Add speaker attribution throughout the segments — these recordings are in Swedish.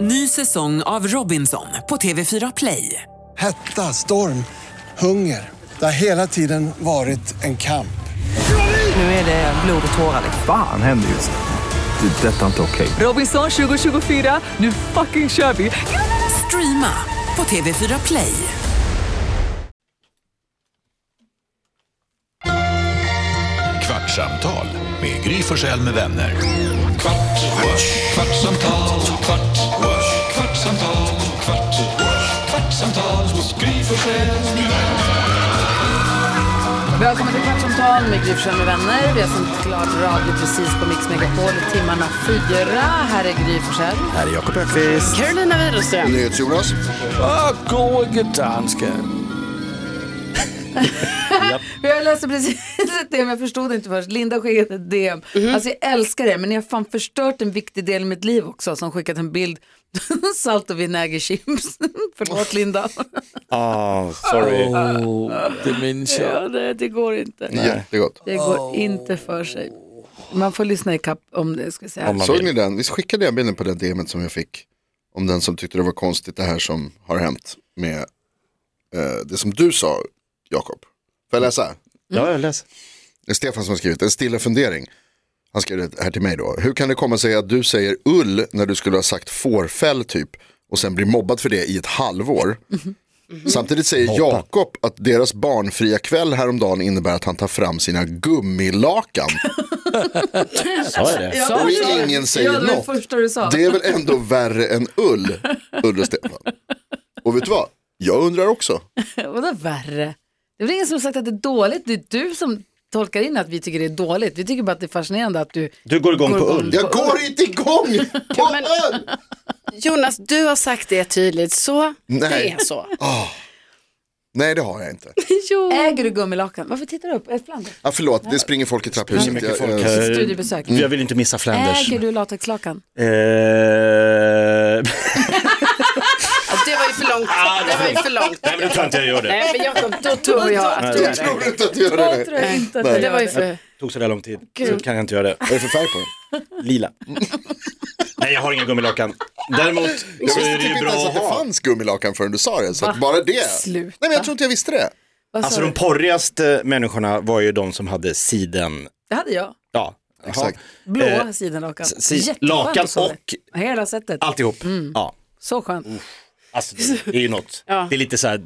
Speaker 1: Ny säsong av Robinson på TV4 Play.
Speaker 2: Hetta, storm, hunger. Det har hela tiden varit en kamp.
Speaker 1: Nu är det blod och tårar. liksom.
Speaker 3: Fan händer just nu. Det. är Detta är inte okej.
Speaker 1: Robinson 2024, nu fucking kör vi! Streama på TV4 Play.
Speaker 4: Kvartsamtal med Gry Forssell med vänner. Kvart, what? kvartsamtal, kvart, what? kvartsamtal, kvart, what? kvartsamtal hos Gry Forssell med vänner.
Speaker 5: Välkommen till Kvartsamtal med Gry Forssell med vänner. Vi har sänt klart radio precis på Mix Megapol i timmarna fyra. Här är Gry Forssell.
Speaker 6: Här är Jakob Öqvist.
Speaker 5: Carolina Widerström.
Speaker 6: NyhetsJonas. Ah, gode danska.
Speaker 5: Jag läste alltså, precis ett DM, jag förstod inte först. Linda skickade ett DM. Alltså jag älskar er, men ni har fan förstört en viktig del i mitt liv också. Som skickat en bild. Salt och vinägerchips. Förlåt Linda.
Speaker 7: Ah, sorry.
Speaker 8: Ah,
Speaker 6: det minns
Speaker 5: Ja, det, det går inte.
Speaker 7: Jättegott.
Speaker 5: Det går inte för sig. Man får lyssna i kapp om det, ska jag säga.
Speaker 7: Om man
Speaker 9: Såg
Speaker 7: vill.
Speaker 9: ni den? Visst skickade jag bilden på det DMet som jag fick? Om den som tyckte det var konstigt det här som har hänt med eh, det som du sa, Jakob. Får jag läsa?
Speaker 7: Mm. Ja, jag läser.
Speaker 9: Det är Stefan som har skrivit, en stilla fundering. Han skrev det här till mig då. Hur kan det komma sig att du säger ull när du skulle ha sagt fårfäll typ och sen blir mobbad för det i ett halvår? Samtidigt säger Jakob att deras barnfria kväll häromdagen innebär att han tar fram sina gummilakan.
Speaker 7: Sa jag det?
Speaker 9: Och ingen
Speaker 5: ja,
Speaker 9: säger
Speaker 5: det var
Speaker 9: något.
Speaker 5: det första du sa.
Speaker 9: Det är väl ändå värre än ull, Ulle Stefan. Och vet du vad? Jag undrar också.
Speaker 5: Vadå värre? Det är väl ingen som har sagt att det är dåligt. Det är du som tolkar in att vi tycker det är dåligt. Vi tycker bara att det är fascinerande att du...
Speaker 7: Du går igång på ull.
Speaker 9: Jag går inte igång på
Speaker 8: men-
Speaker 9: öl!
Speaker 8: Jonas, du har sagt det tydligt, så det
Speaker 9: Nej. Ah.
Speaker 8: är så.
Speaker 9: Nej, det har jag inte.
Speaker 5: Äger du gummilakan? Varför tittar du upp? Ett bland
Speaker 9: Ah, förlåt, det springer folk i trapphuset.
Speaker 7: mycket
Speaker 9: Jag-
Speaker 7: folk
Speaker 9: jag-
Speaker 7: här.
Speaker 5: Studiebesök.
Speaker 7: Mm.
Speaker 5: Äh,
Speaker 7: Jag vill inte missa Flanders.
Speaker 5: Äger du latexlakan?
Speaker 7: Eh,
Speaker 8: Ja, det var ju för långt. Ah, Det var ju för långt.
Speaker 7: Nej, men du tror inte jag gör det.
Speaker 8: Nej, men Jakob, då tror jag att du
Speaker 9: Jag
Speaker 8: gör det.
Speaker 9: tror inte att jag gör det.
Speaker 5: tror jag inte att
Speaker 9: Nej.
Speaker 5: du
Speaker 8: Det
Speaker 5: gör
Speaker 8: var ju
Speaker 5: det.
Speaker 8: för...
Speaker 7: Det tog så där lång tid. Så kan jag inte göra det.
Speaker 9: Vad är det för färg på den?
Speaker 7: Lila. Nej, jag har ingen gummilakan. Däremot
Speaker 9: Jag
Speaker 7: så är
Speaker 9: visste
Speaker 7: det
Speaker 9: typ
Speaker 7: ju
Speaker 9: inte
Speaker 7: bra
Speaker 9: ens
Speaker 7: att
Speaker 9: att det
Speaker 7: ha.
Speaker 9: fanns gummilakan förrän du sa det. Så
Speaker 8: Ah,
Speaker 9: att bara det.
Speaker 5: Sluta.
Speaker 9: Nej, men jag tror inte jag visste det.
Speaker 5: Vad sa
Speaker 7: Alltså
Speaker 5: du?
Speaker 7: de porrigaste människorna var ju de som hade siden,
Speaker 5: Det hade jag.
Speaker 7: ja,
Speaker 9: Exakt.
Speaker 5: Blå
Speaker 7: Eh,
Speaker 5: sidenlakan.
Speaker 7: si-
Speaker 5: Jätteskönt
Speaker 7: lakan
Speaker 5: att se
Speaker 7: och-
Speaker 5: det. Hela sättet.
Speaker 7: alltihop. Ja,
Speaker 5: Så skönt.
Speaker 7: alltså det det är ju något.
Speaker 8: Ja.
Speaker 7: Det är lite så här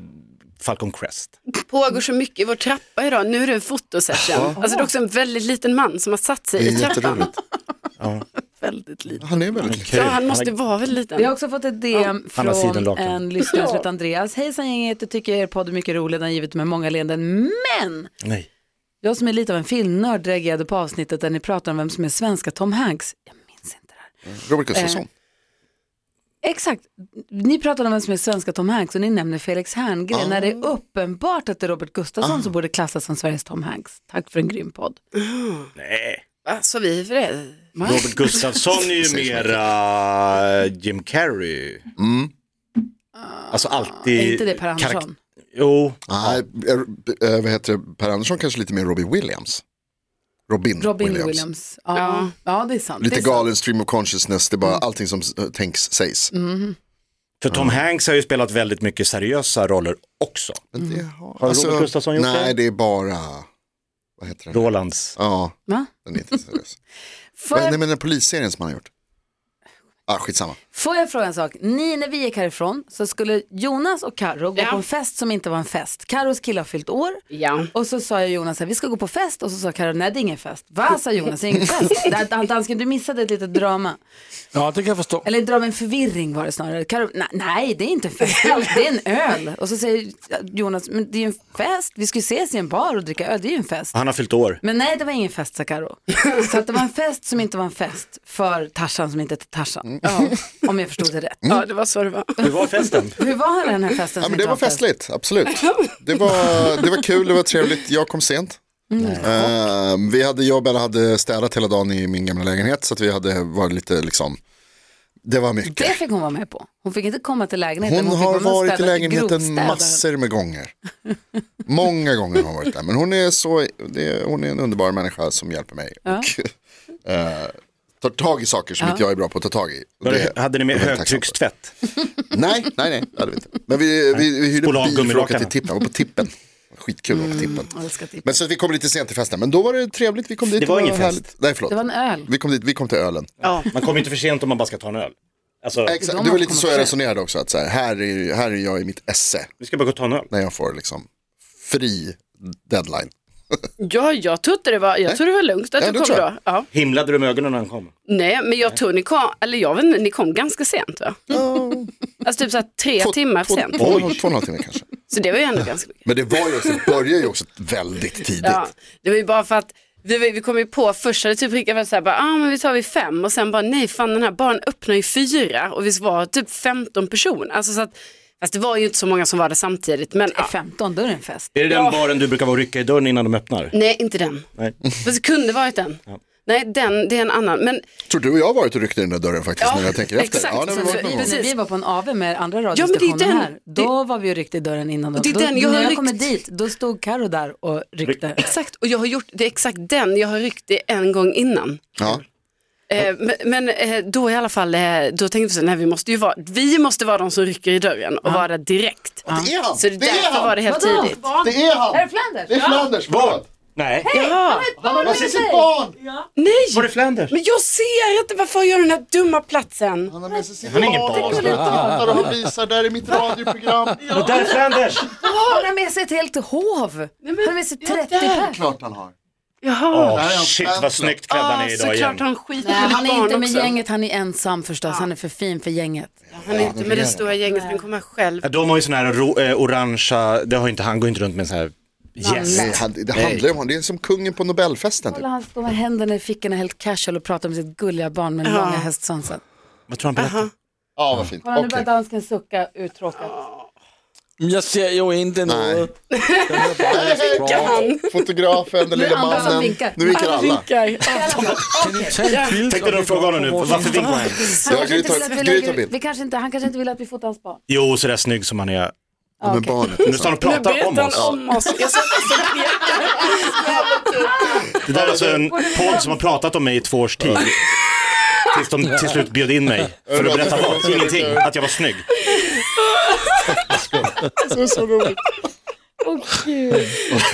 Speaker 7: Falcon Crest.
Speaker 8: pågår så mycket i vår trappa idag. Nu är det en fotosession. Alltså det är också en väldigt liten man som har satt sig
Speaker 9: Det
Speaker 8: i
Speaker 9: är
Speaker 8: trappan.
Speaker 9: jätteroligt.
Speaker 8: Väldigt liten.
Speaker 9: Han är väldigt liten.
Speaker 8: Ja, han måste vara väldigt
Speaker 5: Vi har
Speaker 8: liten.
Speaker 5: också fått ett DM
Speaker 7: Han har
Speaker 5: från
Speaker 7: sidenlakan.
Speaker 5: en lyssnare som heter Andreas. Hejsan gänget, jag tycker er podd är mycket rolig, den har givit mig många leenden. Men
Speaker 7: Nej.
Speaker 5: Jag som är lite av en filmnörd reagerade på avsnittet där ni pratar om vem som är svenska Tom Hanks. Jag minns inte det här.
Speaker 9: Robert Gustafsson.
Speaker 5: Exakt, ni pratade om vem som är svenska Tom Hanks och ni nämner Felix Herngren när det är uppenbart att det är Robert
Speaker 8: Ah.
Speaker 5: Gustafsson som borde klassas som Sveriges Tom Hanks. Tack för en grym podd.
Speaker 7: Nej.
Speaker 8: Va, Så vi är för det.
Speaker 7: Robert Gustafsson är ju mera Jim Carrey.
Speaker 8: Ah,
Speaker 7: Alltså alltid.
Speaker 5: Är inte det Per Andersson?
Speaker 7: karakt- Jo,
Speaker 9: Nej, eh, vad heter det? Per Andersson kanske lite mer Robbie Williams. Robin,
Speaker 5: Robin Williams.
Speaker 9: Williams.
Speaker 5: Ja. Ja.
Speaker 8: Ja.
Speaker 5: det är sant. det
Speaker 9: Lite
Speaker 5: är Mm. sant.
Speaker 9: galen stream of consciousness, det är bara allting som eh, tänks sägs.
Speaker 5: Mm,
Speaker 7: för Tom Hanks har ju spelat väldigt mycket seriösa roller också.
Speaker 9: Men
Speaker 5: mm.
Speaker 9: det har,
Speaker 7: Robert Gustafsson gjort
Speaker 9: Alltså, nej,
Speaker 7: det?
Speaker 9: Nej, det är bara, vad heter den?
Speaker 7: Rolands.
Speaker 9: Ja,
Speaker 5: Va?
Speaker 9: den är inte seriös.
Speaker 5: Får,
Speaker 9: Men, nej,
Speaker 5: jag,
Speaker 9: men den polisserien som han har gjort. Ah, skitsamma.
Speaker 5: får jag fråga en sak? Ni, när vi gick härifrån så skulle Jonas och Karo gå
Speaker 8: Ja.
Speaker 5: på en fest som inte var en fest. Karos kille har fyllt år.
Speaker 8: Ja.
Speaker 5: Och så sa jag Jonas, här, vi ska gå på fest och så sa Karin, nej det är ingen fest. Va, sa Jonas, det är ingen fest. Där- Han dansken, du missade ett litet drama.
Speaker 6: Ja, det kan jag förstå.
Speaker 5: Eller drama en förvirring var det snarare. Karin, nej, nej det är inte en fest, det är en öl. Och så säger Jonas, men det är ju en fest, vi ska ju ses i en bar och dricka öl, det är ju en fest.
Speaker 7: Han har fyllt år.
Speaker 5: Men nej, det var ingen fest, sa Karo. Så att det var en fest som inte var en fest för Tarzan som inte hette Tarzan. Ja, om jag förstod det rätt.
Speaker 8: ja, det var så det var.
Speaker 7: Hur var festen?
Speaker 5: Hur var den här festen
Speaker 9: Ja,
Speaker 5: som
Speaker 9: men
Speaker 5: inte
Speaker 9: det var
Speaker 5: en fest?
Speaker 9: festligt, absolut. Det var, det var kul, det var trevligt. Jag kom sent.
Speaker 5: Mm.
Speaker 9: Eh, vi hade, jag och Bella hade städat hela dagen i min gamla lägenhet så att vi hade varit lite liksom, det var mycket.
Speaker 5: Det fick hon vara med på. Hon fick inte komma till lägenheten.
Speaker 9: Hon
Speaker 5: fick vara
Speaker 9: har
Speaker 5: med och
Speaker 9: varit i
Speaker 5: städa till
Speaker 9: lägenheten
Speaker 5: grovstädaren.
Speaker 9: massor med gånger. Många gånger har hon varit där. Men hon är, så, det, hon är en underbar människa som hjälper mig. Och, eh, tar tag i saker som inte jag är bra på att ta tag i. Och
Speaker 10: Var
Speaker 9: det-
Speaker 10: det- Hade ni med
Speaker 9: jag är väldigt tacksam för.
Speaker 10: högtryckstvätt?
Speaker 9: Nej, nej, nej, det hade vi inte. Men vi, vi, vi hyrde
Speaker 10: Spola av
Speaker 9: bil för att åka till
Speaker 10: gummilakarna.
Speaker 9: tippen, Jag var på tippen. Skitkul att åka tippen.
Speaker 5: Mm, Älskar tippen.
Speaker 9: Men så att vi kom lite sent till festen, men då var det trevligt, vi kom dit.
Speaker 10: Det
Speaker 9: och
Speaker 10: var ingen fest.
Speaker 9: härligt. Nej, förlåt.
Speaker 5: Det var en öl.
Speaker 9: Vi kom, dit, vi kom till ölen.
Speaker 11: Ja.
Speaker 10: Man kommer inte för sent om man bara ska ta en öl. Alltså,
Speaker 9: Exakt,
Speaker 5: de
Speaker 9: det var
Speaker 5: har
Speaker 9: lite
Speaker 5: kommit
Speaker 9: så jag
Speaker 5: sent.
Speaker 9: resonerade också, att så här, här, är, här är jag i mitt esse
Speaker 10: vi ska bara gå och ta en öl.
Speaker 9: när jag får liksom fri deadline.
Speaker 11: ja, jag trodde det var, jag trodde det var lugnt att
Speaker 9: Ja,
Speaker 11: du
Speaker 9: det
Speaker 11: kom
Speaker 9: tror jag.
Speaker 11: då. Ja.
Speaker 10: Himlade du med ögonen när han kom?
Speaker 11: Nej, men jag tror ni kom, eller jag vet inte, ni kom ganska sent va? Alltså typ så här tre
Speaker 9: Två-
Speaker 11: timmar
Speaker 9: två,
Speaker 11: sent.
Speaker 9: Två, och en halv- två och en halv timme kanske.
Speaker 11: Så det var ju ändå ganska mycket.
Speaker 9: Men det var ju också, det började ju också väldigt tidigt.
Speaker 11: Ja, det var ju bara för att vi, var- vi kom ju på först hade typ Rickard varit så här, bara, ah, men vi tar vid fem och sen bara nej fan den här baren öppnar ju fyra och vi var typ 15 personer. Alltså så att, fast det var ju inte så många som var där samtidigt. Men, ja.
Speaker 5: 15, eh, då är det en fest.
Speaker 10: Är det den baren du brukar vara och rycka i dörren innan de öppnar?
Speaker 11: Nej, inte den.
Speaker 10: Nej.
Speaker 11: Fast det kunde varit den. Nej, den, det är en annan. Men
Speaker 9: Tror du och jag har varit och ryckt i den där dörren faktiskt
Speaker 11: Ja,
Speaker 9: när jag tänker efter?
Speaker 11: exakt.
Speaker 9: Ja, nej, men
Speaker 11: Så-
Speaker 9: varit någon
Speaker 11: så-
Speaker 9: gång.
Speaker 11: precis.
Speaker 5: När vi var på en AV med andra
Speaker 11: Ja, men det är
Speaker 5: radiostationer
Speaker 11: den-
Speaker 5: här, då var vi ju ryckt i dörren innan dem.
Speaker 11: Det är
Speaker 5: Då,
Speaker 11: den jag
Speaker 5: när
Speaker 11: har
Speaker 5: jag
Speaker 11: ryckt.
Speaker 5: kommer dit, då stod Karo där och ryckte.
Speaker 11: exakt, och jag har gjort, det är exakt den jag har ryckt i en gång innan.
Speaker 9: Ja.
Speaker 11: Eh, men- men eh, då i alla fall, eh, då tänkte vi så här, nej vi måste ju vara, vi måste vara de som rycker i dörren och vara där direkt.
Speaker 9: Det är han!
Speaker 11: Så det
Speaker 9: Det är
Speaker 11: därför var
Speaker 9: han!
Speaker 11: det helt
Speaker 5: Vadå?
Speaker 11: tidigt.
Speaker 9: Det är han!
Speaker 5: Flanders?
Speaker 9: Det är Flanders! Vad?
Speaker 10: Nej.
Speaker 11: Ja.
Speaker 9: Han har med sitt barn!
Speaker 11: Nej!
Speaker 10: Var det Flanders?
Speaker 11: Men jag ser inte varför jag gör den här dumma platsen.
Speaker 9: Han har med sig sitt
Speaker 10: Han är ingen
Speaker 9: barn!
Speaker 10: barn.
Speaker 9: Han pratar och visar där i mitt radioprogram.
Speaker 10: Och där är Flanders!
Speaker 5: Han har med sig ett helt hov.
Speaker 11: men-
Speaker 5: han har med sig 30
Speaker 11: Ja, där.
Speaker 5: pers.
Speaker 9: Klart han har.
Speaker 10: Åh
Speaker 11: Jaha.
Speaker 9: är hans
Speaker 10: shit
Speaker 9: fanslopp.
Speaker 10: vad snyggt klädd han är idag igen.
Speaker 11: Ah, såklart han skiter
Speaker 5: Nej, han är inte med
Speaker 11: också.
Speaker 5: gänget, han är ensam förstås. Han är för fin för gänget.
Speaker 11: Han är inte med det stora gänget, han kommer själv.
Speaker 10: Ja, De har ju sån här ro, eh, orangea, det har ju inte, han går inte runt med en sån här yes.
Speaker 9: Nej, han, det handlar ju om honom. Det är som kungen på Nobelfesten. Typ.
Speaker 5: Kolla, han står med händerna i fickorna helt casual och pratar med sitt gulliga barn med långa hästsvansen.
Speaker 10: Vad tror han berättar?
Speaker 9: Ja, vad fint.
Speaker 5: Kolla, nu
Speaker 9: Okej.
Speaker 5: börjar dansken sucka uttråkat.
Speaker 8: Men Jag ser ju inte
Speaker 9: Nej.
Speaker 8: något. Den är bara helt bra.
Speaker 9: Fotografen, den
Speaker 5: Nu är
Speaker 9: lilla
Speaker 5: det andra som
Speaker 9: mannen.
Speaker 5: vinkar.
Speaker 9: Nu vinkar alla.
Speaker 8: Kan ni ta en bild?
Speaker 10: Tänkte du fråga honom nu, varför vinkar han?
Speaker 5: Han
Speaker 9: Ja,
Speaker 5: kanske
Speaker 9: Gry
Speaker 5: inte
Speaker 9: tar,
Speaker 5: vill att vi
Speaker 9: Gry tar
Speaker 5: lägger-
Speaker 9: bild.
Speaker 5: vi kanske inte- Han kanske inte vill att vi fotar hans barn.
Speaker 10: Jo, sådär snygg som han är.
Speaker 9: Ja, men barnet.
Speaker 10: Nu står han och pratar om oss.
Speaker 11: om oss. Jag satt och pekade.
Speaker 10: Det där är alltså en podd som har pratat om mig i två års tid. Tills de till slut bjöd in mig för att berätta vad? Ingenting, att jag var snygg.
Speaker 9: Det är så roligt. Okej.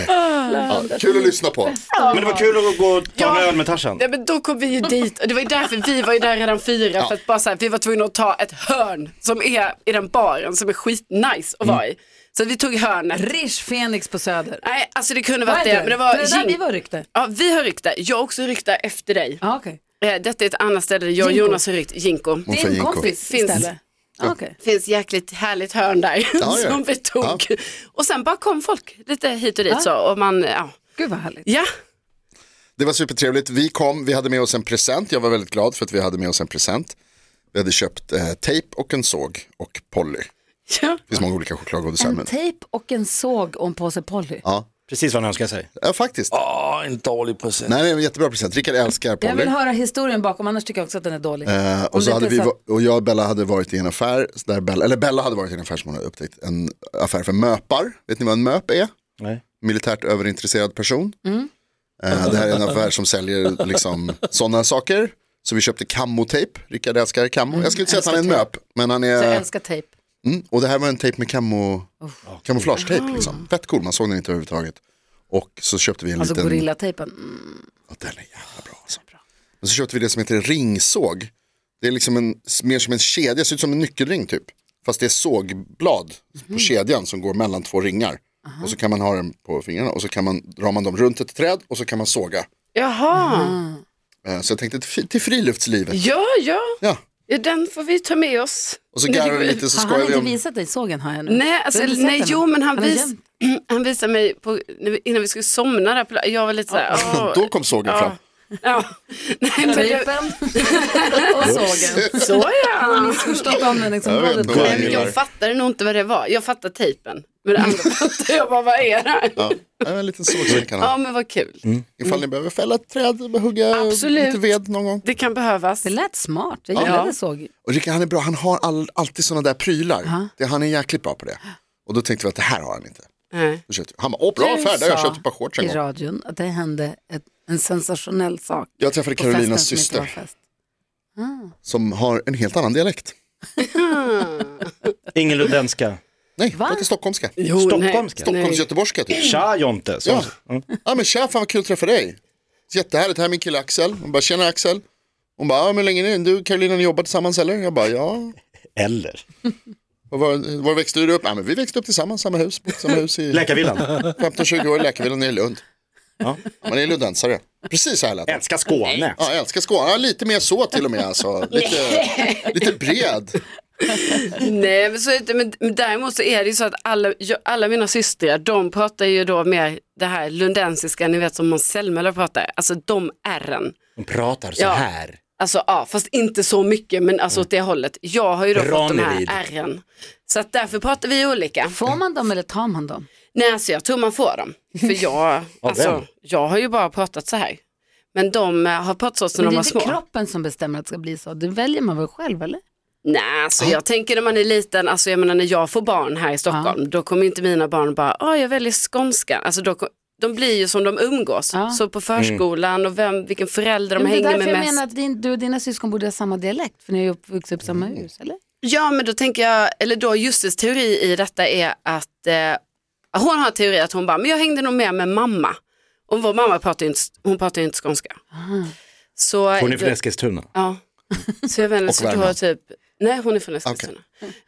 Speaker 9: Ja, kul att lyssna på.
Speaker 10: Men det var kul att gå och ta en öl med Tarzan.
Speaker 11: Ja, men då kom vi ju dit och det var ju därför vi var ju där redan fyra. För att bara så här, vi var tvungna att ta ett hörn som är i den baren som är skitnice att vara i. Så vi tog hörnet.
Speaker 5: Rish Fenix på Söder.
Speaker 11: Nej, alltså det kunde
Speaker 5: Vad
Speaker 11: varit
Speaker 5: är
Speaker 11: det, men det var,
Speaker 5: det där
Speaker 11: gin.
Speaker 5: vi var rykte.
Speaker 11: Ja, vi har rykte. Jag har också rykte efter dig.
Speaker 5: Ah, okej.
Speaker 11: Eh, Detta är ett annat ställe där jag och
Speaker 5: Jinko.
Speaker 11: Jonas har ryckt, Jinko.
Speaker 9: Hon
Speaker 5: Det
Speaker 9: sa
Speaker 5: är en
Speaker 9: Jinko.
Speaker 5: kompis
Speaker 11: Finns.
Speaker 5: istället. Ah, okej.
Speaker 11: finns jäkligt härligt hörn där
Speaker 9: ja.
Speaker 11: som vi tog. Och sen bara kom folk lite hit och dit så. Och man, ja.
Speaker 5: Gud vad härligt.
Speaker 11: ja.
Speaker 9: Det var supertrevligt. Vi kom, vi hade med oss en present. Jag var väldigt glad för att vi hade med oss en present. Vi hade köpt eh, tejp och en såg och Polly. Det
Speaker 11: ja.
Speaker 9: finns många olika chokladgodisar.
Speaker 5: En
Speaker 9: men-
Speaker 5: tejp och en såg och en påse Polly.
Speaker 10: Precis vad han önskade sig.
Speaker 9: Ja, faktiskt.
Speaker 8: Åh, en dålig present.
Speaker 9: Nej, det är en jättebra present. Rickard älskar
Speaker 5: Jag vill
Speaker 9: Polly.
Speaker 5: höra historien bakom, annars tycker jag också att den är dålig.
Speaker 9: Eh,
Speaker 5: Om
Speaker 9: och, så
Speaker 5: det
Speaker 9: hade
Speaker 5: inte
Speaker 9: vi,
Speaker 5: är så-
Speaker 9: va- och jag och Bella hade varit i en affär, där Bella, eller Bella hade varit i en affär som hon har upptäckt, en affär för möpar. Vet ni vad en möp är?
Speaker 10: Nej.
Speaker 9: Militärt överintresserad person.
Speaker 5: Mm.
Speaker 9: Eh, det här är en affär som säljer liksom, sådana saker. Så vi köpte kammotejp, Rickard älskar kammo. jag skulle inte säga att han är en möp, men han
Speaker 5: Mm. Jag
Speaker 9: är,
Speaker 5: älskar tejp.
Speaker 9: mm, och det här var eh, en tejp med kammo, kamouflagetejp. Liksom. Fett cool, man såg den inte överhuvudtaget. Och så köpte vi en
Speaker 5: Alltså
Speaker 9: liten...
Speaker 5: gorillatejpen. Mm.
Speaker 9: Ja, den är jävla bra. Alltså. Och så köpte vi det som heter ringsåg. Det är liksom en, mer som en kedja, ser ut som en nyckelring typ. Fast det är sågblad på
Speaker 11: Mhm.
Speaker 9: kedjan som går mellan två ringar. Och så kan man ha den på fingrarna och så kan man, drar man dem runt ett träd och så kan man såga.
Speaker 11: Jaha,
Speaker 9: Eh, Så jag tänkte till, till friluftslivet.
Speaker 11: ja, ja.
Speaker 9: Ja.
Speaker 11: Ja, Den får vi ta med oss.
Speaker 9: Och så
Speaker 11: Nej,
Speaker 9: garvar vi
Speaker 11: det-
Speaker 9: lite så
Speaker 5: Har han
Speaker 9: skojar vi
Speaker 5: inte
Speaker 9: om.
Speaker 5: visat dig sågen har jag nu?
Speaker 11: Nej, alltså,
Speaker 5: Du har inte sett
Speaker 11: nej
Speaker 5: den,
Speaker 11: jo, men han,
Speaker 5: har
Speaker 11: vis,
Speaker 5: gömt-
Speaker 11: han visade mig på, när vi- innan vi skulle somna där. På, jag var lite så här, åh,
Speaker 9: Då kom sågen fram.
Speaker 11: ja. Nej, men jag,
Speaker 5: Tejpen och sågen.
Speaker 11: så ja.
Speaker 5: Missförstått
Speaker 9: Jag vet
Speaker 5: användningsområdet.
Speaker 9: inte vad
Speaker 11: Nej, men jag fattade nog inte vad det var. Jag fattade tejpen. Men det andra fattade jag bara, vad är det här?
Speaker 9: Ja. Ja, en liten såg som vi kan
Speaker 11: Ja,
Speaker 9: ha. Mm.
Speaker 11: men vad kul. Mm.
Speaker 9: Ifall ni behöver fälla ett träd, hugga
Speaker 11: Absolut.
Speaker 9: lite ved någon gång.
Speaker 11: Det kan behövas.
Speaker 5: Det lät smart, jag gillade såg.
Speaker 9: Och Rickard han är bra, han har all, alltid sådana där prylar. Det, han är jäkligt bra på det. Och då tänkte vi att det här har han inte.
Speaker 11: Nej.
Speaker 9: Då köpte, jag- han bara, åh bra
Speaker 5: Du
Speaker 9: affär, där har jag
Speaker 5: sa
Speaker 9: köpt ett par shorts en
Speaker 5: i
Speaker 9: gång.
Speaker 5: radion att det hände ett, en sensationell sak.
Speaker 9: Jag träffade
Speaker 5: på
Speaker 9: Carolinas
Speaker 5: festen som inte var
Speaker 9: syster.
Speaker 5: fest.
Speaker 9: Som har en helt annan dialekt.
Speaker 7: Ingen lundenska.
Speaker 9: Nej, pratar stockholmska.
Speaker 8: Jo,
Speaker 7: Stockholmska.
Speaker 9: Stockholms-göteborgska typ.
Speaker 7: Tja Jonte. Mm. Så.
Speaker 9: Ja. ja, men tja, fan vad kul att träffa dig. Jättehärligt, här är min kille Axel. Hon bara, tjena Axel. Hon bara, ja, men hur länge är det? Du och Carolina ni jobbar tillsammans eller? Jag bara, ja.
Speaker 7: Eller.
Speaker 9: Och var, var växte du upp? Ja, men vi växte upp tillsammans, samma hus. bodde i Samma hus i
Speaker 7: Läkarvillan.
Speaker 9: 15-20 år i Läkarvillan i Lund.
Speaker 7: Ja.
Speaker 9: Man är lundensare. Precis så här lät det.
Speaker 7: Älskar Skåne.
Speaker 9: Ja, jag älskar Skåne. Ja, lite mer så till och med alltså. Lite, lite bred.
Speaker 8: Nej, men, så, är det inte. men men däremot så är det ju så att alla, jag, alla mina systrar, de pratar ju då mer det här lundensiska, ni vet som Måns Zelmerlöw pratar, alltså de ärren.
Speaker 7: De pratar så
Speaker 8: Ja.
Speaker 7: här.
Speaker 8: Alltså ja, fast inte så mycket, men alltså åt det hållet. Jag har ju då fått de här
Speaker 7: Ranelid.
Speaker 8: ärren. Så att därför pratar vi olika.
Speaker 5: Får man dem eller tar man dem?
Speaker 8: Nej, alltså jag tror man får dem. För jag,
Speaker 7: vem?
Speaker 8: alltså, jag har ju bara pratat så här. Men de eh, har pratat så
Speaker 5: Men
Speaker 8: sedan
Speaker 5: det
Speaker 8: de
Speaker 5: är
Speaker 8: var
Speaker 5: inte
Speaker 8: små.
Speaker 5: kroppen som bestämmer att det ska bli så. Det väljer man väl själv eller?
Speaker 8: Nej, alltså jag tänker när man är liten, alltså jag menar när jag får barn här i Stockholm, då kommer ju inte mina barn bara, ah jag väljer skånska. Alltså då, kom- de blir ju som de umgås,
Speaker 5: Ja.
Speaker 8: så på förskolan och vem, vilken förälder de
Speaker 5: Men det är
Speaker 8: hänger
Speaker 5: därför
Speaker 8: med
Speaker 5: jag
Speaker 8: mest.
Speaker 5: menar att din, du och dina syskon borde ha samma dialekt. För ni har ju upp- vuxit upp i samma hus, eller?
Speaker 8: Ja, men då tänker jag, eller då Justes teori i detta är att eh, hon har en teori att hon bara, men jag hängde nog med med mamma. Och vår mamma pratar ju inte, hon pratar ju inte skånska.
Speaker 11: Ah.
Speaker 8: Så,
Speaker 7: Hon är från Eskilstuna.
Speaker 8: Ja, så jag vet inte,
Speaker 9: Och
Speaker 8: så då har jag
Speaker 9: Värmland.
Speaker 8: typ, nej hon är från Eskilstuna.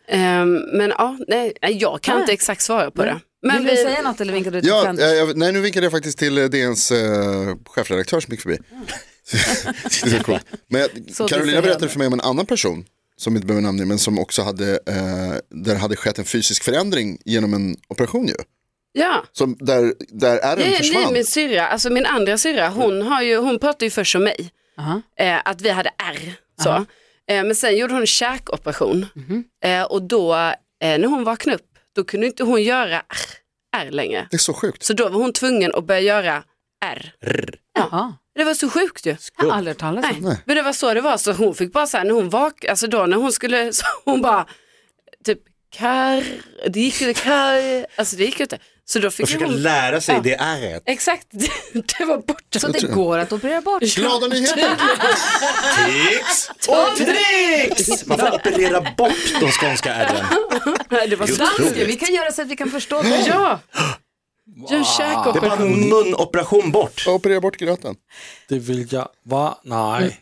Speaker 8: Ehm, men ja, nej, nej, jag kan
Speaker 5: Nej.
Speaker 8: inte exakt svara på det. Men
Speaker 5: Vill du säga något eller vinkar du till
Speaker 9: Ja,
Speaker 5: Frans?
Speaker 9: eh, jag, nej, nu vinkade jag faktiskt till eh, DNs eh, chefredaktör som gick förbi.
Speaker 8: Mm.
Speaker 9: det är så coolt. Men
Speaker 5: Så
Speaker 9: jag, Carolina
Speaker 5: distraherande.
Speaker 9: berättade för mig om en annan person som inte behöver namnge men som också hade, eh, där hade skett en fysisk förändring genom en operation ju.
Speaker 8: ja.
Speaker 9: Som, där, där
Speaker 8: Ja,
Speaker 9: ärren
Speaker 8: ja,
Speaker 9: försvann.
Speaker 8: nej, min syrra, alltså min andra syrra, hon, har ju, hon pratade ju först som mig,
Speaker 5: Aha.
Speaker 8: eh, att vi hade R. Så. Eh, men sen gjorde hon en käkoperation
Speaker 5: Mhm.
Speaker 8: eh, och då, eh, när hon vaknade upp, då kunde inte hon göra R, R längre.
Speaker 9: Det är så sjukt.
Speaker 8: Så då var hon tvungen att börja göra R.
Speaker 5: Jaha,
Speaker 8: Det var så sjukt ju.
Speaker 5: jag har aldrig hört talas om.
Speaker 8: Nej. Men det var så det var, så hon fick bara så här, när hon vak, alltså då när hon skulle, så hon bara, typ kar, det gick ju inte, kar, alltså det gick ju inte. Så då
Speaker 7: Och
Speaker 8: fick ju
Speaker 7: försöka
Speaker 8: hon,
Speaker 7: lära sig
Speaker 8: Ja.
Speaker 7: det är ett.
Speaker 8: exakt, det var borta.
Speaker 5: Så det går att operera bort.
Speaker 9: Glada nyheter.
Speaker 7: Tricks och tricks! Man får operera bort de skånska ärren.
Speaker 8: Nej, det var så
Speaker 5: Dansken, vi kan göra så att vi kan förstå. det.
Speaker 8: Ja, du en
Speaker 7: Det är
Speaker 8: käkoperation.
Speaker 7: bara en munoperation bort.
Speaker 9: Operera bort gröten.
Speaker 6: Det vill jag, va? Nej.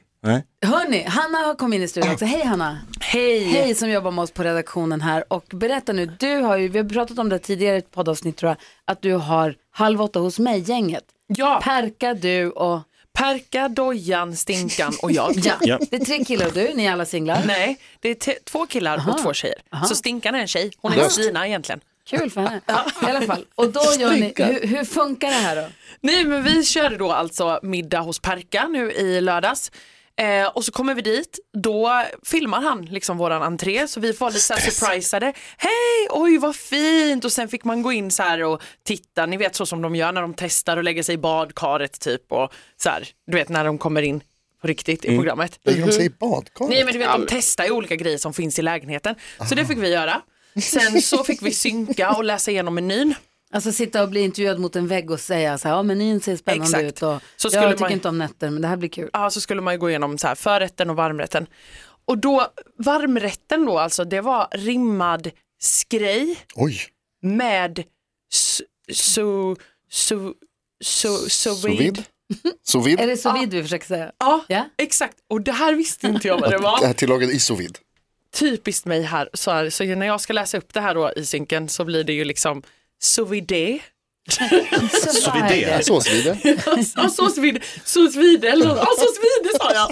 Speaker 5: Hörni, Hanna har kommit in i studion också. Hej Hanna! Hej! Hej som jobbar med oss på redaktionen här. Och berätta nu, du har ju, vi har pratat om det tidigare i ett poddavsnitt tror jag, att du har Halv åtta hos mig-gänget.
Speaker 11: Ja,
Speaker 5: Perka, du och...
Speaker 11: Perka, Dojan, Stinkan och jag.
Speaker 5: Ja.
Speaker 7: Ja.
Speaker 5: det är tre killar och du, ni är alla singlar.
Speaker 11: Nej, det är te- två killar och två tjejer. Så Stinkan är en tjej, hon är en
Speaker 9: Löst.
Speaker 11: Stina egentligen.
Speaker 5: Kul för henne. I alla fall. Och då gör ni, hur, hur funkar det här då?
Speaker 11: Nej, men vi körde då alltså middag hos Perka nu i lördags. Eh, och så kommer vi dit, då filmar han liksom våran entré så vi var lite så här surprisade. Hej, oj vad fint! Och sen fick man gå in så här och titta, ni vet så som de gör när de testar och lägger sig i badkaret typ och så här, du vet när de kommer in på riktigt i programmet.
Speaker 9: Mm. Lägger de sig i badkaret? Ah.
Speaker 11: Nej men du vet de testar ju olika grejer som finns i lägenheten. Så det fick vi göra. Sen så fick vi synka och läsa igenom menyn.
Speaker 5: Alltså sitta och bli intervjuad mot en vägg och säga så här, ja menyn ser spännande
Speaker 11: Exakt.
Speaker 5: ut och
Speaker 11: Så skulle
Speaker 5: jag tycker
Speaker 11: man-
Speaker 5: inte om nätter men det här blir kul.
Speaker 11: Ja, så skulle man ju gå igenom så här, förrätten och varmrätten. Och då, varmrätten då alltså, det var rimmad skrej
Speaker 9: Oj,
Speaker 11: med su, su, su, su, su,
Speaker 9: sous vide. Sous
Speaker 5: Är
Speaker 9: vide.
Speaker 5: det så vid vi försöker säga?
Speaker 11: Ja,
Speaker 5: Ja.
Speaker 11: exakt. Och det här visste inte jag vad det
Speaker 9: Det
Speaker 11: var.
Speaker 9: här tillagat i sous vide.
Speaker 11: Typiskt mig här så, här, så när jag ska läsa upp det här då i synken så blir det ju liksom sous vide.
Speaker 5: Så
Speaker 7: vid det.
Speaker 9: Sås vide.
Speaker 11: Ja, sås vide, sås vide, eller något. Ja, sås vide sa jag.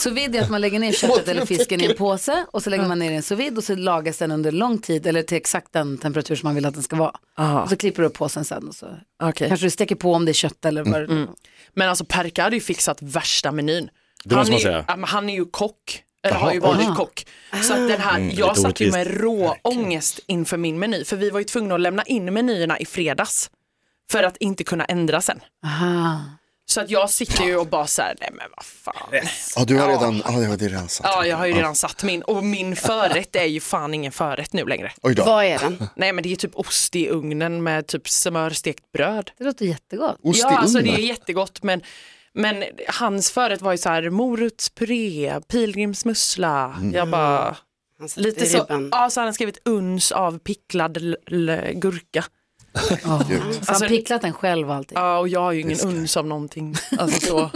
Speaker 5: Sous vide är att man lägger ner köttet eller fisken i en påse och så lägger man ner den i en sous vide och så lagas den under lång tid eller till exakt den temperatur som man vill att den ska vara. Och så klipper du upp påsen sen och så
Speaker 11: Okej.
Speaker 5: kanske du steker på om det är kött eller vad det
Speaker 11: Men alltså Perka hade ju fixat värsta menyn.
Speaker 7: Det måste
Speaker 11: han, är,
Speaker 7: man
Speaker 11: ju-
Speaker 7: säga.
Speaker 11: ja, men han är ju kock. Eller har ju varit kock. Så att den här, jag
Speaker 7: Mm, lite
Speaker 11: satt ju med
Speaker 7: orättvist.
Speaker 11: rå ångest inför min meny. För vi var ju tvungna att lämna in menyerna i fredags. För att inte kunna ändra sen.
Speaker 5: Aha.
Speaker 11: Så att jag sitter ju och bara så här, nej men vad fan.
Speaker 9: Ja, du har redan, ja det var det redan sant.
Speaker 11: Ja, jag har ju redan satt min. Och min förrätt är ju fan ingen förrätt nu längre.
Speaker 9: Oj då.
Speaker 8: Vad är den?
Speaker 11: Nej men det är ju typ ost i ugnen med typ smörstekt bröd.
Speaker 5: Det låter jättegott.
Speaker 9: Ost i
Speaker 11: Ja, alltså det är
Speaker 9: ugnen.
Speaker 11: jättegott men Men hans förrätt var ju så här morotspuré, pilgrimsmussla. Jag bara,
Speaker 8: Han satte
Speaker 11: lite så.
Speaker 8: ribban.
Speaker 11: Ja, så hade han skrivit uns av picklad l- l- gurka. Alltså,
Speaker 5: Så Alltså, han picklat den själv och allting.
Speaker 11: Ja, och jag har ju ingen uns av någonting. Alltså så.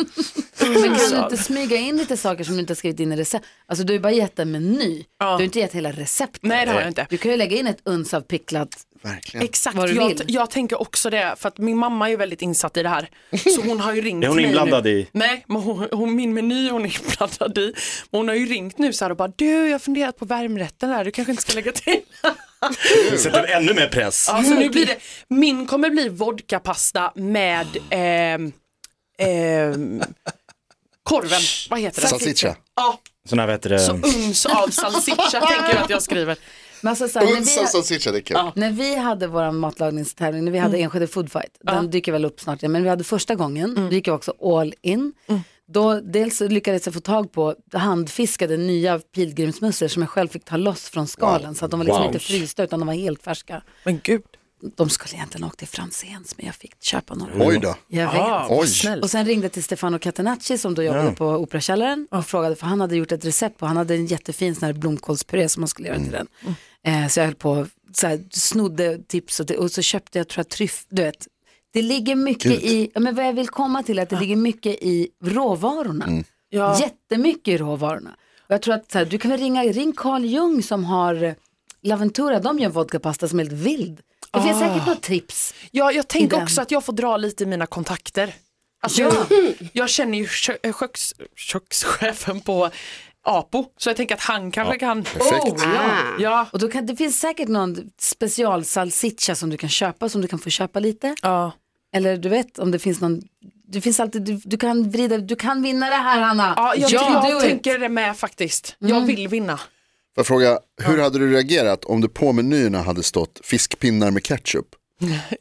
Speaker 5: Men kan du inte smyga in lite saker som du inte har skrivit in i recept? Alltså du har ju bara gett en meny. Du har inte gett hela receptet.
Speaker 11: Nej, det har jag inte.
Speaker 5: Du kan ju lägga in ett uns av picklat.
Speaker 9: Verkligen.
Speaker 11: Exakt,
Speaker 5: Vad du
Speaker 11: jag,
Speaker 5: vill.
Speaker 11: jag tänker också det för att min mamma är ju väldigt insatt i det här. Så hon har ju ringt
Speaker 7: Är hon
Speaker 11: mig
Speaker 7: inblandad
Speaker 11: nu.
Speaker 7: i?
Speaker 11: Nej, men hon, hon, min meny hon är inblandad i. Men Hon har ju ringt nu så här och bara du jag har funderat på värmrätten här, du kanske inte ska lägga till.
Speaker 7: Sätter ännu mer press.
Speaker 11: Alltså nu blir det, min kommer bli vodkapasta med ehm, ehm, korven, vad heter det?
Speaker 9: Salsiccia.
Speaker 11: Ja,
Speaker 7: Sån här, vad heter det?
Speaker 11: så uns av salsiccia tänker jag att jag skriver.
Speaker 5: Men alltså, så här, när, vi
Speaker 9: Unsa
Speaker 5: ha,
Speaker 9: salsiccia, det är kul.
Speaker 5: när vi hade vår matlagningstävling, när vi
Speaker 11: Mm.
Speaker 5: hade Enskede Food Fight, den dyker väl upp snart igen, men vi hade första gången,
Speaker 11: Mm.
Speaker 5: då gick jag också all in. Då dels så lyckades jag få tag på handfiskade nya pilgrimsmusslor som jag själv fick ta loss från skalen så att de var liksom
Speaker 7: Wow.
Speaker 5: inte frysta utan de var helt färska.
Speaker 11: Men gud.
Speaker 5: De skulle egentligen ha åkt till Franzéns men jag fick köpa några.
Speaker 9: Oj då.
Speaker 5: Jag vet.
Speaker 11: Ja,
Speaker 9: Oj.
Speaker 11: vad snällt.
Speaker 5: Och sen ringde jag till Stefano Catenacci som då jobbade på Operakällaren och frågade för han hade gjort ett recept på, han hade en jättefin sån här blomkålspuré som man skulle göra
Speaker 9: Mm.
Speaker 5: till den. Eh, så jag höll på, så här, snodde tips och, det- och så köpte jag tror jag tryff, du vet. Det ligger mycket
Speaker 9: Gud.
Speaker 5: i, ja, men vad jag vill komma till är att det ligger mycket i råvarorna.
Speaker 9: Mm.
Speaker 11: Ja.
Speaker 5: Jättemycket i råvarorna. Och jag tror att så här, du kan väl ringa, ring Carl Jung som har eh, Laventura, de gör vodkapasta som är helt vild. Det finns
Speaker 11: Ah.
Speaker 5: säkert något tips.
Speaker 11: Ja, jag tänker
Speaker 5: den.
Speaker 11: också att jag får dra lite i mina kontakter. Alltså,
Speaker 5: Ja.
Speaker 11: jag, jag känner ju kö- eh, köks, kökschefen på Apo, så jag tänker att han kanske kan... Oh,
Speaker 9: Perfekt.
Speaker 5: Ja.
Speaker 11: Ja.
Speaker 5: Och då kan, det finns säkert någon specialsalsiccia som du kan köpa, som du kan få köpa lite.
Speaker 11: Ja.
Speaker 5: Eller du vet, om det finns någon, det finns alltid, du, du kan vrida, du kan vinna det här Hanna.
Speaker 11: Ja, jag,
Speaker 5: Ja, do
Speaker 11: jag
Speaker 5: it. Mm.
Speaker 11: tänker det med faktiskt. Jag vill vinna.
Speaker 9: Får jag fråga, hur hade du reagerat om det på menyerna hade stått fiskpinnar med ketchup?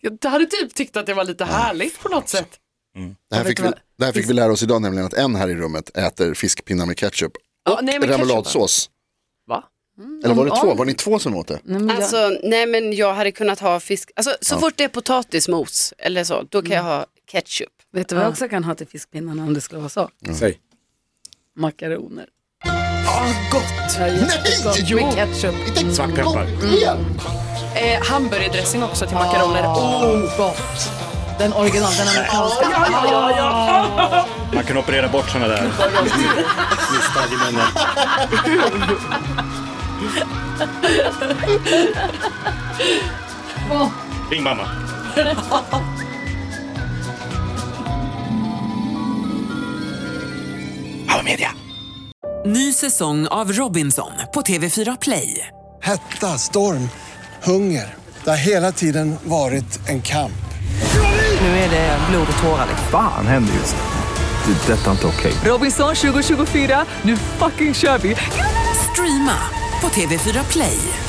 Speaker 11: Jag hade typ tyckt att det var lite härligt på något sätt.
Speaker 9: Det här, fick vi, det här fick vi lära oss idag, nämligen att en här i rummet äter fiskpinnar med ketchup.
Speaker 11: Ja, nej, men
Speaker 9: Remouladsås.
Speaker 11: Va?
Speaker 9: Eller var det
Speaker 5: Om-
Speaker 9: två?
Speaker 5: om-
Speaker 9: Var ni två som åt det?
Speaker 5: Nej, men jag,
Speaker 8: Alltså, nej men jag hade kunnat ha fisk, alltså så fort det är potatismos eller så, då kan jag ha ketchup.
Speaker 5: Mm. vet du vad jag också kan ha till fiskpinnarna om det skulle vara så?
Speaker 7: Säg.
Speaker 5: Makaroner.
Speaker 9: Nej, jo!
Speaker 5: Med ketchup.
Speaker 9: Inte svartpeppar.
Speaker 11: Eh, hamburgardressing också till makaroner.
Speaker 5: Ah.
Speaker 11: Oh, gott.
Speaker 5: Den original, den amerikanska.
Speaker 7: Man kan operera bort såna där misstag i munnen. Ring mamma. Hallå media.
Speaker 1: Ny säsong av Robinson på TV4 Play.
Speaker 2: Hetta, storm, hunger. Det har hela tiden varit en kamp.
Speaker 1: Nu är det blod och tårar. liksom.
Speaker 3: Fan händer just det. Det är detta inte okej.
Speaker 1: Robinson 2024, nu fucking kör vi! Streama på TV4 Play.